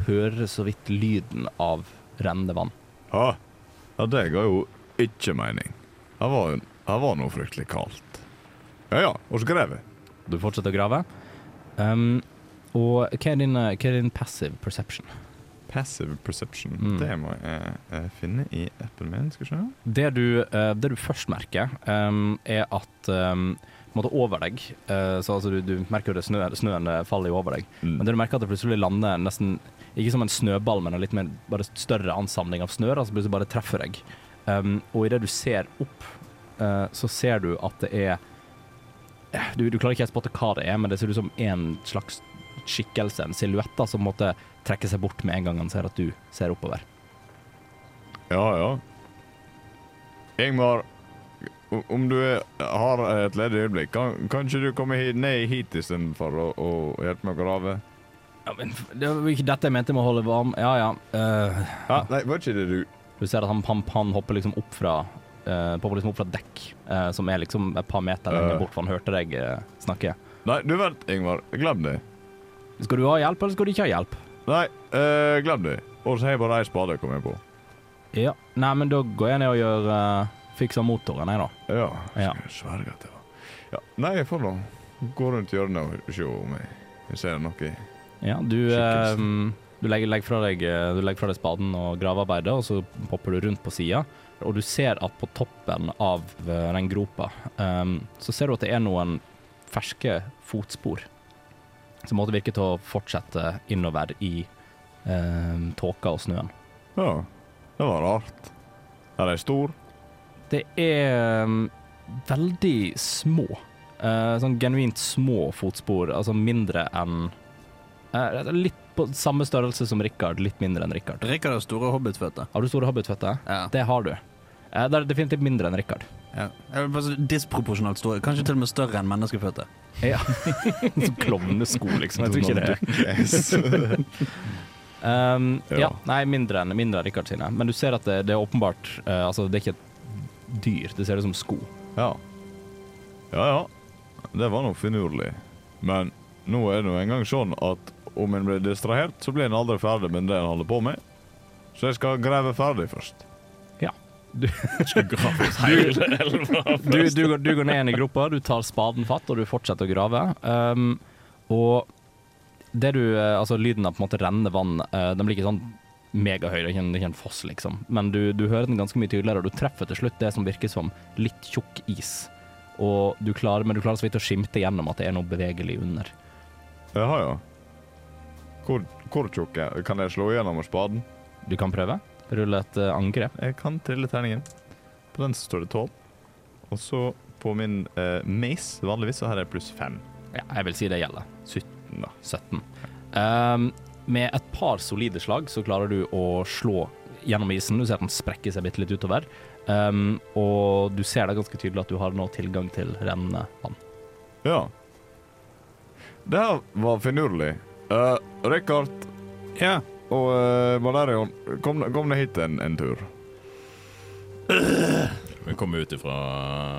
A: høre så vidt lyden av rennende vann.
B: Ja, ja det ga jo ikke mening. Her var, her var noe fryktelig kaldt. Ja ja, og så grev jeg.
A: Du fortsetter å grave. Ehm, og hva er, din, eh, hva er din passive perception?
B: Passive perception.
A: Mm.
B: Det må jeg eh, finne i appen min. Skal vi se.
A: Det du, eh, det du først merker, ehm, er at ehm, på en måte over deg, eh, så altså du, du merker jo det snø, snøen eh, faller jo over deg,
B: Mm.
A: men det du merker er at det plutselig lander nesten, ikke som en snøball, men en litt mer, bare større ansamling av snø, da, som plutselig bare treffer deg. Ehm, og idet du ser opp, eh, så ser du at det er eh, du, du klarer ikke helt å spotte hva det er, men det ser ut som en slags skikkelse, en silhuett, da, som måtte trekke seg bort med en gang han ser at du ser oppover.
B: Ja ja. Ingmar, o- om du er, har et ledig øyeblikk, kan, kan ikke du komme hit, ned hit istedenfor å, å hjelpe meg å grave?
A: Ja, men f- det var jo ikke dette jeg mente med å holde varm. Ja, ja. eh,
B: Ja, nei, var ikke det du?
A: du ser at han, han, han hopper liksom opp fra eh, popper liksom opp fra dekk, eh, som er liksom et par meter lenger
B: Eh.
A: bort, for han hørte deg eh, snakke.
B: Nei, du vent, Ingmar. Glem det.
A: Skal du ha hjelp, eller skal du ikke ha hjelp?
B: Nei, eh, glem det. Og så har jeg bare ei spade, kom jeg på.
A: Ja. Nei, men da går jeg ned og gjør eh, fikser motoren, jeg, da.
B: Ja,
A: Ja.
B: skal jeg sverge at det var ja. Nei, jeg får nå gå rundt hjørnet og se om jeg, jeg ser noe.
A: Ja, du, eh, du legger, legger, fra deg, eh, du legger fra deg spaden og gravearbeidet, og så popper du rundt på sida. Og du ser at på toppen av eh, den gropa, eh, så ser du at det er noen ferske fotspor. Som måtte virke til å fortsette innover i eh, tåka og snøen.
B: Ja, det var rart. Er de stor?
A: Det er um, veldig små. eh, sånn genuint små fotspor, altså mindre enn eh, Litt på samme størrelse som Richard, litt mindre enn Richard.
E: Rikard har store hobbitføtter.
A: Har du store hobbitføtter?
E: Ja.
A: Det har du. Eh, det er definitivt mindre enn Richard.
E: Ja. Jeg vil bare si Disproporsjonalt store. Kanskje til og med større enn menneskeføtter.
A: Ja. Som klovnesko, liksom. Jeg tror ikke det.
B: Yes.
A: Um, ja.
B: Ja.
A: nei, mindre enn, mindre enn Richard sine. Men du ser at det, det er åpenbart eh, Altså, det er ikke et dyr, det ser ut som sko.
B: Ja. Ja ja. Det var nå finurlig. Men nå er det nå engang sånn at om en blir distrahert, så blir en aldri ferdig med det en holder på med. Så jeg skal grave ferdig først.
C: Skal grave ut hele elva.
A: Du, du, går- du går ned igjen i gropa, du tar spaden fatt, og du fortsetter å grave. Um, og det du eh, Altså, lyden av på en måte rennende vann, eh, den blir ikke sånn megahøy, det er ikke en, det er ikke en foss, liksom. Men du, du hører den ganske mye tydeligere, og du treffer til slutt det som virker som litt tjukk is. Og du klarer, men du klarer så vidt å skimte gjennom at det er noe bevegelig under.
B: Jaha, ja. Hvor, hvor tjukk er Kan jeg slå igjennom med spaden?
A: Du kan prøve. Rulle et eh, angrep.
B: Jeg kan trille terningen. På den så står det tolv. Og så på min eh, mace, vanligvis, så har jeg pluss fem.
A: Ja, jeg vil si det gjelder.
B: 17, da.
A: 17. Ehm, med et par solide slag så klarer du å slå gjennom isen. Du ser at den sprekker seg bitte litt utover. Ehm, og du ser det ganske tydelig at du har nå tilgang til rennende vann.
B: Ja. Det her var finurlig. Uh, Richard,
E: Ja.
B: Og uh, Valerion, kom, kom deg hit en, en tur.
C: Vi kom ut ifra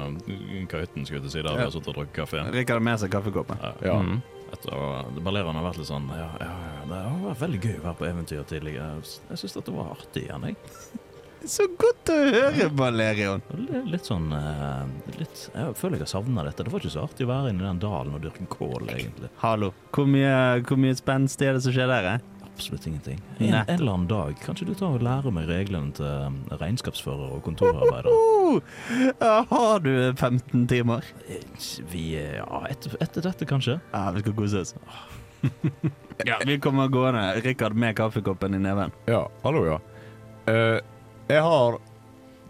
C: eh, kahytten, skulle jeg til å si, der vi har sittet og drukket kaffe.
E: Rikard har med seg kaffekoppen.
B: Ja.
A: Mhm.
C: Etter, å- Balerion har vært litt sånn ja, ja, ja, Det har vært veldig gøy å være på eventyr tidligere. Jeg syns dette var artig igjen, jeg.
E: Så godt å høre, Valerian.
C: Det er Litt sånn eh, litt, Jeg føler jeg har savna dette. Det var ikke så artig å være inne i den dalen og dyrke kål, egentlig.
E: Hallo. Hvor mye, hvor mye spenstig er det som skjer der? eh?
C: Absolutt ingenting. En, en
E: Nettopp.
C: eller annen dag kanskje du tar og lærer meg reglene til eh, regnskapsfører og kontorarbeider.
E: Oh, ja, har du 15 timer?
C: Vi eh, Ja, etter, etter dette, kanskje.
E: Ja, vi skal kose oss. Ja, vi kommer gående. Rikard med kaffekoppen i neven.
B: Ja, hallo, ja. Eh, jeg har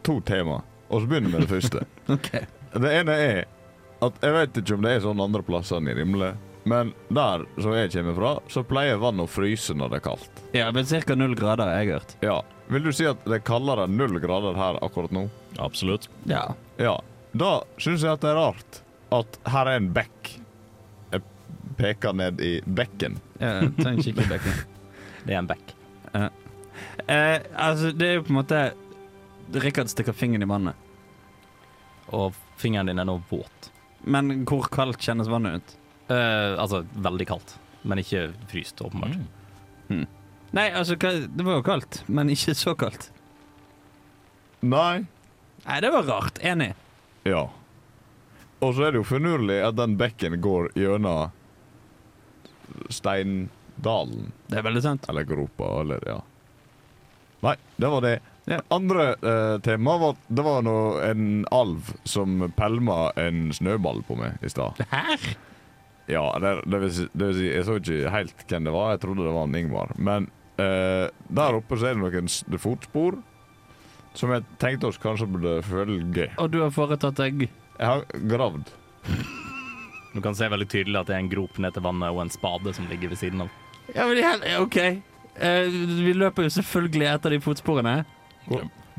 B: to tema, og så begynner vi med det første.
E: Ok.
B: Det ene er at jeg vet ikke om det er sånn andre plasser enn i Rimle, men der som jeg kommer fra, så pleier vann å fryse når det er kaldt.
E: Ja, men ca. null grader, har jeg hørt.
B: Ja. Vil du si at det er kaldere enn null grader her akkurat nå?
C: Absolutt.
E: Ja.
B: Ja. Da syns jeg at det er rart at her er en bekk. Jeg peker ned i bekken.
E: Jeg trenger ikke bekken.
A: Det er en bekk.
E: Eh, altså, det er jo på en måte Rikard stikker fingeren i vannet.
A: Og fingeren din er nå våt.
E: Men hvor kaldt kjennes vannet ut?
A: Eh, altså veldig kaldt, men ikke fryst, åpenbart.
C: Mm.
E: Nei, altså, hva- det var jo kaldt, men ikke så kaldt.
B: Nei.
E: Nei, det var rart. Enig.
B: Ja. Og så er det jo finurlig at den bekken går gjennom steindalen,
E: Det er veldig sant.
B: eller gropa, eller ja. Nei, det var det.
E: Ja.
B: Andre eh, tema var Det var nå en alv som pælma en snøball på meg i stad.
E: Her?
B: Ja, det, det, vil si, det vil si Jeg så ikke helt hvem det var. Jeg trodde det var en Ingvar. Men eh, der oppe så er det noen s- fotspor som jeg tenkte oss kanskje burde følge.
E: Og du har foretatt deg
B: Jeg har gravd.
A: Mm. Du kan se veldig tydelig at det er en grop ned til vannet og en spade som ligger ved siden av.
E: Ja, men i hel... OK. Eh, vi løper jo selvfølgelig etter de fotsporene.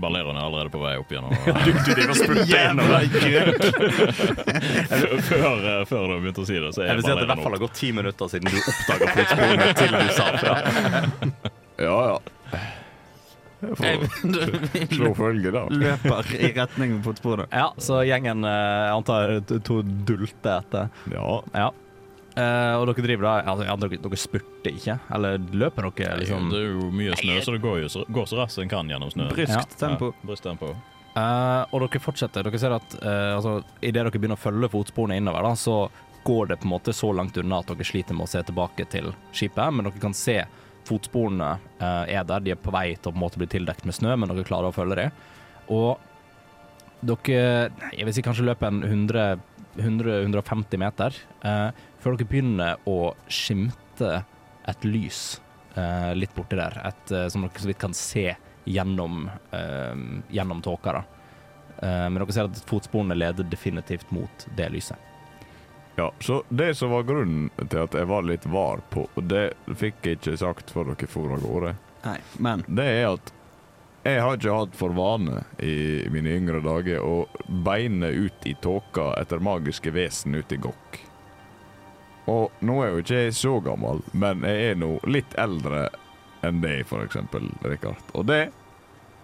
C: Ballereren er allerede på vei opp gjennom eh,
A: Du driver og spurter
C: før, før, eh, før du har begynt å si det, så
A: Jeg
C: er
A: vil si at det i hvert fall
C: ballereren opp.
A: har gått ti minutter siden du oppdaga fotsporene til du sa fra.
B: Ja, ja. Jeg får slå følge, da.
E: løper i retning mot fotsporene.
A: Ja, så gjengen eh, jeg antar to- to dulte etter.
B: Ja.
A: Ja. Eh, og dere driver da altså, ja, dere, dere spurter ikke? Eller løper dere liksom
C: Det er jo mye snø, så det går jo så, går så raskt en kan gjennom snøen.
E: Bryskt
A: Ja.
E: tempo.
C: Ja, bryskt tempo.
A: Eh, og dere fortsetter. Dere ser at eh, altså, idet dere begynner å følge fotsporene innover, da, så går det på en måte så langt unna at dere sliter med å se tilbake til skipet. Men dere kan se fotsporene eh, er der. De er på vei til å på en måte bli tildekt med snø, men dere klarer å følge dem. Og dere nei, Jeg vil si kanskje løper en 100 100-150 meter eh, før dere begynner å skimte et lys eh, litt borti der, et, eh, som dere så vidt kan se gjennom, eh, gjennom tåka. da. Eh, men dere ser at fotsporene leder definitivt mot det lyset.
B: ja. Så det som var grunnen til at jeg var litt var på, og det fikk jeg ikke sagt før dere for av gårde,
E: Nei, men
B: det er at jeg har ikke hatt for vane i mine yngre dager å beine ut i tåka etter magiske vesen ute i gokk. Og nå er jo ikke jeg så gammel, men jeg er nå litt eldre enn deg, for eksempel, Rikard. Og det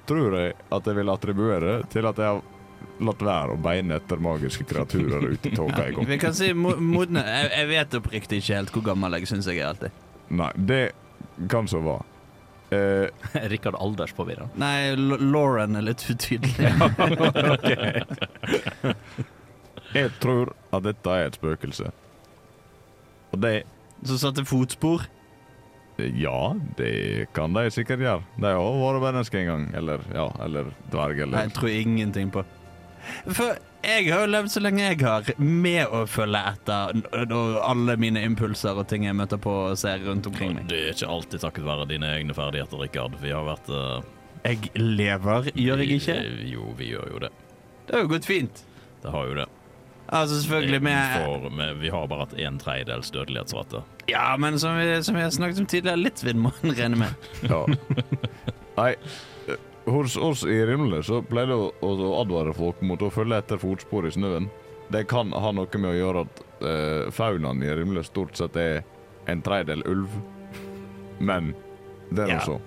B: tror jeg at jeg vil attribuere til at jeg har latt være å beine etter magiske kreaturer ute i tåka i gokk.
E: vi kan si mo modne jeg, jeg vet oppriktig ikke helt hvor gammel jeg syns jeg er alltid.
B: Nei, det kan så være. Eh,
A: Rikard alderspåvirra.
E: Nei, L Lauren er litt utydelig.
B: jeg tror at dette er et spøkelse. Og det
E: Så satte fotspor.
B: Ja, det kan de sikkert gjøre. De har vært mennesker en gang. Eller ja, eller dverg,
E: Nei,
B: eller
E: jeg tror ingenting på. For jeg har jo levd så lenge jeg har, med å følge etter n- og alle mine impulser og ting jeg møter på og ser rundt omkring
C: Og
E: meg.
C: Det er ikke alltid takket være dine egne ferdigheter, Rikard. Vi har vært eh,
E: Jeg lever, gjør jeg ikke?
C: vi- eh, Jo, vi gjør jo det.
E: Det har jo gått fint.
C: Det har jo det.
E: Altså, selvfølgelig med
C: Vi, får, med, vi har bare hatt en tredjedels dødelighetsrate.
E: Ja, men som vi, som vi har snakket om tidligere, litt vil man regne med.
B: ja. Nei, eh, hos oss i Rimle så pleier det å, å å advare folk mot å følge etter fotspor i snøen. Det kan ha noe med å gjøre at eh, faunaen i Rimle stort sett er en tredjedel ulv. Men det er altså- nå
E: Ja.
B: så.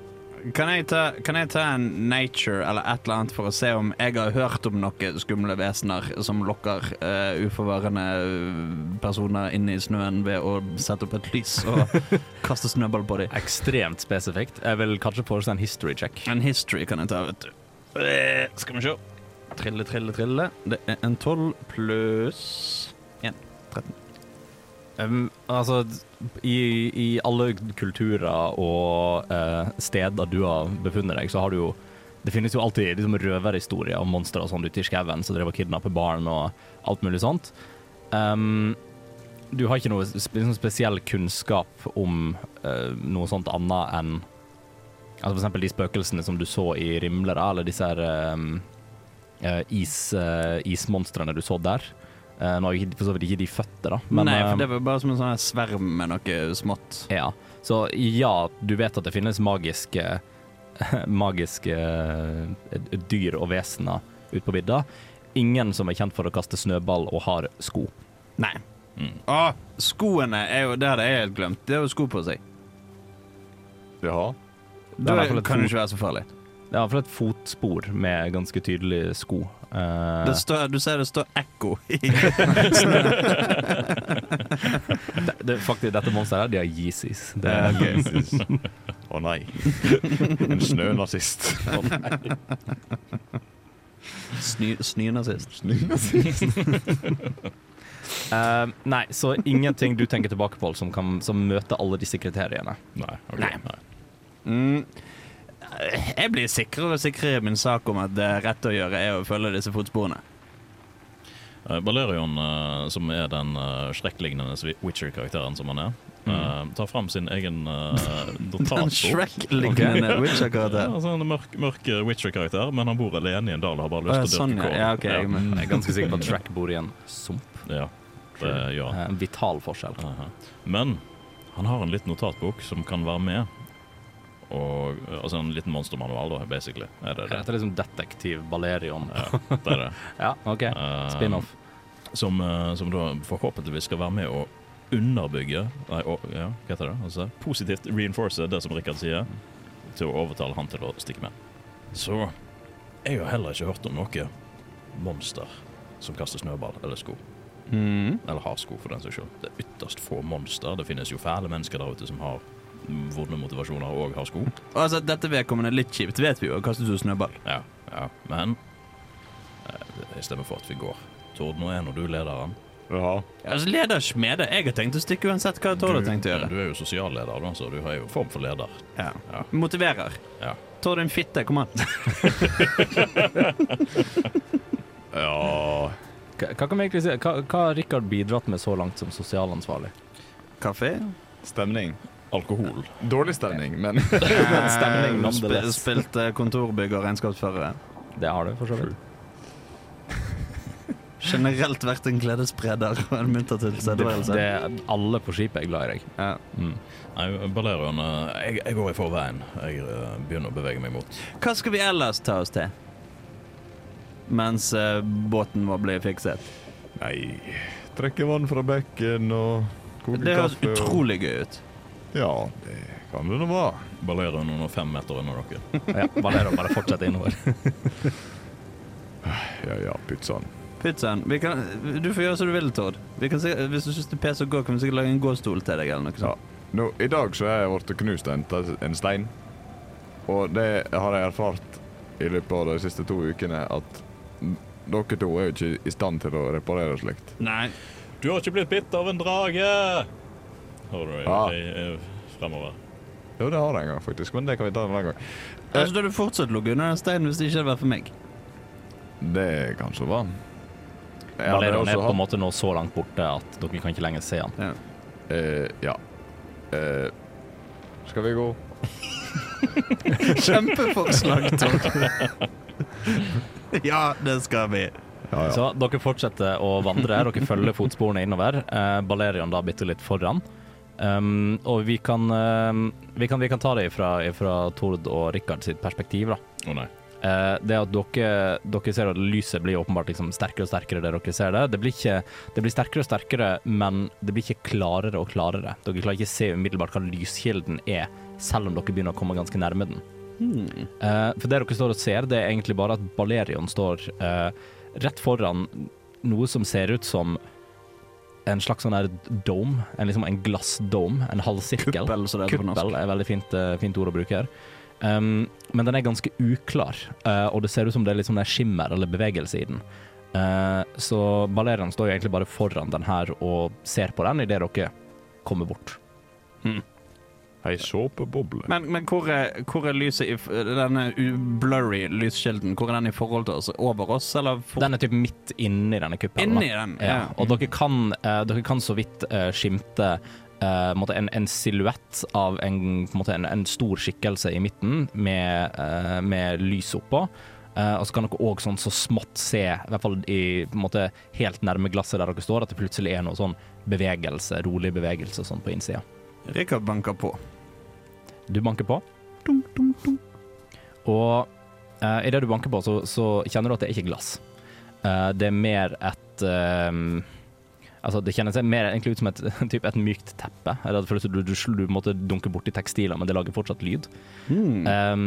E: Kan jeg, ta, kan jeg ta en nature eller et eller annet for å se om jeg har hørt om noen skumle vesener som lokker eh, uforvarende eh, personer inn i snøen ved å sette opp et lys og kaste snøball på dem?
A: Ekstremt spesifikt. Jeg vil kanskje foreslå en history check.
E: En history kan jeg ta, vet du.
C: Eh, Skal vi se.
E: Trille, trille, trille. Det er en 12 pluss
A: Um, altså, i, i alle kulturer og eh, steder du har befunnet deg, så har du jo Det finnes jo alltid liksom, røverhistorier om monstre og sånn ute i skauen som drev og kidnappet barn og alt mulig sånt. Um, du har ikke noe sp sånn spesiell kunnskap om eh, noe sånt annet enn Altså for eksempel de spøkelsene som du så i Rimler, da, eller disse her eh, eh, is, eh, ismonstrene du så der. Eh, nå er jo ikke- for så vidt ikke de fødte, da.
E: Nei,
A: eh,
E: for det var bare som en sånn her sverm med noe smått.
A: ja, så ja, du vet at det finnes magiske magiske eh, dyr og vesener ute på vidda. Ingen som er kjent for å kaste snøball og har sko.
E: Nei.
A: Mm.
E: Ah, skoene er jo Det hadde jeg helt glemt. Det er jo sko på seg.
B: Jaha.
A: er i
E: Da
A: hvert fall et
E: kan
A: fot.
E: det ikke være så farlig.
A: Det er iallfall et fotspor med ganske tydelige sko. Eh,
E: Det står, du ser det står ekko.
A: det, det, faktisk, dette monsteret her, de har Yeezys. Det
B: Å
A: er
B: nei. En snønazist.
E: Sny- Snynazist.
A: Eh, nei, så ingenting du tenker tilbake på som, kan, som møter alle disse kriteriene.
C: Nei. ok,
E: Nei.
C: nei.
E: Mm. Jeg blir sikrere og sikrere i min sak om at det rette å gjøre er å følge disse fotsporene.
C: Eh, Balerion, eh, som er den uh, skrekklignende Witcher-karakteren som han er, eh, tar fram sin egen eh,
E: Den
C: notator.
E: Shrek-lignende
C: Ja,
E: Witcher-karakter.
C: altså en mørk, mørk eh, Witcher-karakter, men han bor alene i en dal og har bare
E: Å, ja,
C: lyst til å
E: sånn,
C: dyrke
E: ja.
C: kål.
E: ja ok, jeg er med.
A: Jeg er ganske sikker på at Track bor i en sump.
C: Ja, det gjør han.
A: Eh, En vital forskjell.
C: Aha. Men han har en liten notatbok som kan være med. Og, altså en liten monstermanual, da, basically. Er det det?
A: Dette er liksom detektiv Balerion.
C: det, er det.
A: Ja, OK.
C: Eh,
A: Spin-off.
C: Som, eh, som da forhåpentligvis skal være med å underbygge Nei, å, ja, hva heter det? Altså, positivt reinforce det som Rikard sier, til å overtale han til å stikke med. Så jeg har heller ikke hørt om noe monster som kaster snøball eller sko.
E: Mm.
C: Eller har sko, for den saks skyld. Det er ytterst få monster. Det finnes jo fæle mennesker der ute som har vonde motivasjoner og har sko.
E: Og Altså, dette vedkommende er litt kjipt, vet vi jo. Kastet ut snøball.
C: Ja, ja. Men eh, jeg stemmer for at vi går. Tord, nå er nå du lederen.
B: Jaha.
E: Altså, leder smeder. Jeg har tenkt å stikke uansett hva Tord har tenkt å gjøre.
C: Du er jo sosialleder, da, så du har jo en form for leder.
E: Ja.
C: Ja.
E: Motiverer.
C: Ja.
E: Tord din fitte, kom an.
B: Ja
A: Hva, hva kan vi egentlig si? Hva, hva har Rikard bidratt med så langt som sosialansvarlig?
E: Kaffe?
B: Stemning.
C: Alkohol.
B: Dårlig stemning, men
A: Stemning,
E: Eh, sp
A: nonetheless.
E: spilte kontorbygg og regnskapsfører.
A: Det har du, for så vidt.
E: Generelt vært en gledesspreder og en munter
A: Det,
E: tilstedeværelse.
A: det, alle på skipet er glad i deg.
E: Ja.
A: Mm.
C: Nei, Balerion, eh, jeg, jeg går i forveien. Jeg eh, begynner å bevege meg mot
E: Hva skal vi ellers ta oss til? Mens eh, båten vår blir fikset.
B: Nei. Trekke vann fra bekken og koke
E: Det høres
B: kaffe. og-
E: utrolig gøy ut.
B: Ja, det kan det nå være.
C: Balerion under fem meter under dere.
A: Ja, Valero bare fortsetter innover.
B: Ja ja, pizzaen.
E: Pizzaen vi kan, Du får gjøre som du vil, Tord. Vi kan sikkert, hvis du syns det er pes å gå, kan vi sikkert lage en gåstol til deg. eller noe sånt.
B: Nå, I dag så har jeg blitt knust av en, en stein. Og det har jeg erfart i løpet av de siste to ukene, at n- dere to er jo ikke i stand til å reparere slikt.
E: Nei.
C: Du har ikke blitt bitt av en drage! Hører du?
B: Ah.
C: Jeg, jeg, fremover.
B: Jo, det har jeg en gang, faktisk, men det kan vi ta en annen gang.
E: Altså, Da hadde du fortsatt ligget under den steinen hvis det ikke hadde vært for meg.
B: Det kan så være. Jeg hadde
A: Valero er
B: også
A: på
B: hatt-
A: en måte nå så langt borte at dere kan ikke lenger se han.
B: Eh, ja. Eh, skal vi gå?
E: Kjempeforslag, Tord. ja, det skal vi.
B: Ja, ja.
A: Så dere fortsetter å vandre. Dere følger fotsporene innover. Eh, Balerion da bitte litt foran. Um, og vi kan, eh, vi, kan, vi kan ta det fra, Tord og Rikard sitt perspektiv, da.
C: Å nei.
A: Eh, det at dere, dere ser at lyset blir åpenbart liksom sterkere og sterkere der dere ser det. Det blir, ikke, det blir sterkere og sterkere, men det blir ikke klarere og klarere. Dere klarer ikke se umiddelbart hva lyskilden er, selv om dere begynner å komme ganske nærme den. Eh, for det dere står og ser, det er egentlig bare at Balerion står eh, rett foran noe som ser ut som en slags sånn her dome, en, liksom en glassdome, en halvsirkel.
E: Kuppel, som det heter på norsk.
A: Kuppel er et veldig fint, eh, fint ord å bruke her. Um, men den er ganske uklar, eh, og det ser ut som det er litt sånn der skimmer eller bevegelse i den. Eh, så Balerian står jo egentlig bare foran den her og ser på den idet dere kommer bort.
B: Ei såpeboble.
E: Men, men hvor, er, hvor er lyset i f- Denne u- blurry lyskilden, hvor er den i forhold til oss? Over oss, eller for,
A: Den er typ midt inni denne kuppelen. da.
E: inni den?
A: Ja, og dere kan, eh, dere kan så vidt eh, skimte eh, på en måte en, en silhuett av en, på en, måte en, en stor skikkelse i midten med, eh, med lys oppå. Eh, og så kan dere òg sånn så smått se, i hvert fall i, på en måte, helt nærme glasset der dere står, at det plutselig er noe sånn bevegelse, rolig bevegelse og sånn på innsida.
E: Rikard banker på.
A: Du banker på. Dunk, dunk, dunk. Og uh, idet du banker på, så, så kjenner du at det er ikke glass. Eh, det er mer et eh, Altså, det kjennes mer egentlig ut som et, typ et mykt teppe. Eller det føles som du, du, du måtte dunke borti tekstiler, men det lager fortsatt lyd.
E: Hmm.
A: Um,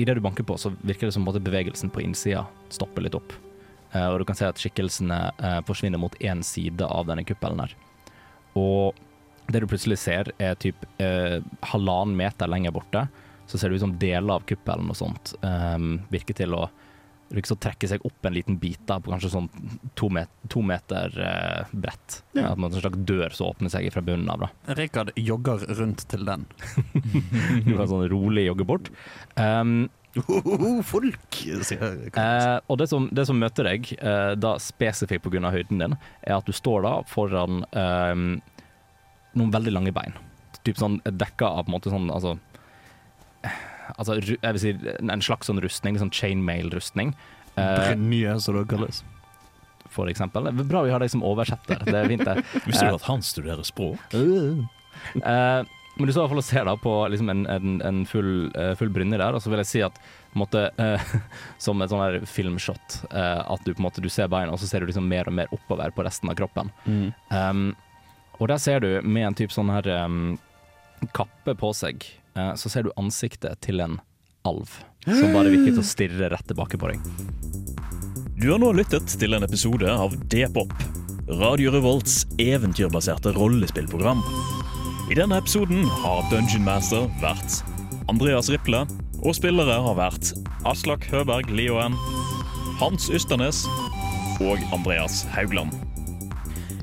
A: Idet du banker på, så virker det som at bevegelsen på innsida stopper litt opp. Eh, og du kan se at skikkelsene eh, forsvinner mot én side av denne kuppelen her. Og det du plutselig ser, er typ eh, halvannen meter lenger borte. Så ser det ut som deler av kuppelen og sånt eh, virker til å virker som å trekke seg opp en liten bit da, på kanskje sånn to, met to meter eh, bredt. At man har en slags dør som åpner seg fra bunnen av. da.
E: Rikard jogger rundt til den.
A: Du kan sånn rolig jogge bort. Um,
E: folk! sier Rikard.
A: Eh, og det som, det som møter deg, eh, da spesifikt pga. høyden din, er at du står da foran eh, noen veldig lange bein. Typ sånn dekka av på en måte sånn altså, altså ru- jeg vil si en slags sånn rustning, sånn chainmail-rustning. eh,
E: Brynje, som det kalles.
A: for eksempel. Det er Bra vi har deg som oversetter, det er fint det.
C: Visste
E: Eh.
C: du at han studerer språk?
A: Eh, men du står i hvert fall og ser da på liksom en, en, en full, eh, full brynje der, og så vil jeg si at på en måte, eh, som et sånn her filmshot, eh, at du på en måte du ser beina, og så ser du liksom mer og mer oppover på resten av kroppen.
E: mm.
A: Um, og der ser du, med en type sånn her um, kappe på seg, eh, så ser du ansiktet til en alv. Som bare virker til å stirre rett tilbake på deg.
C: Du har nå lyttet til en episode av D-pop, Radio Revolts eventyrbaserte rollespillprogram. I denne episoden har Dungeon Master vært Andreas Riple, og spillere har vært Aslak Høberg Lioen, Hans Ysternes og Andreas Haugland.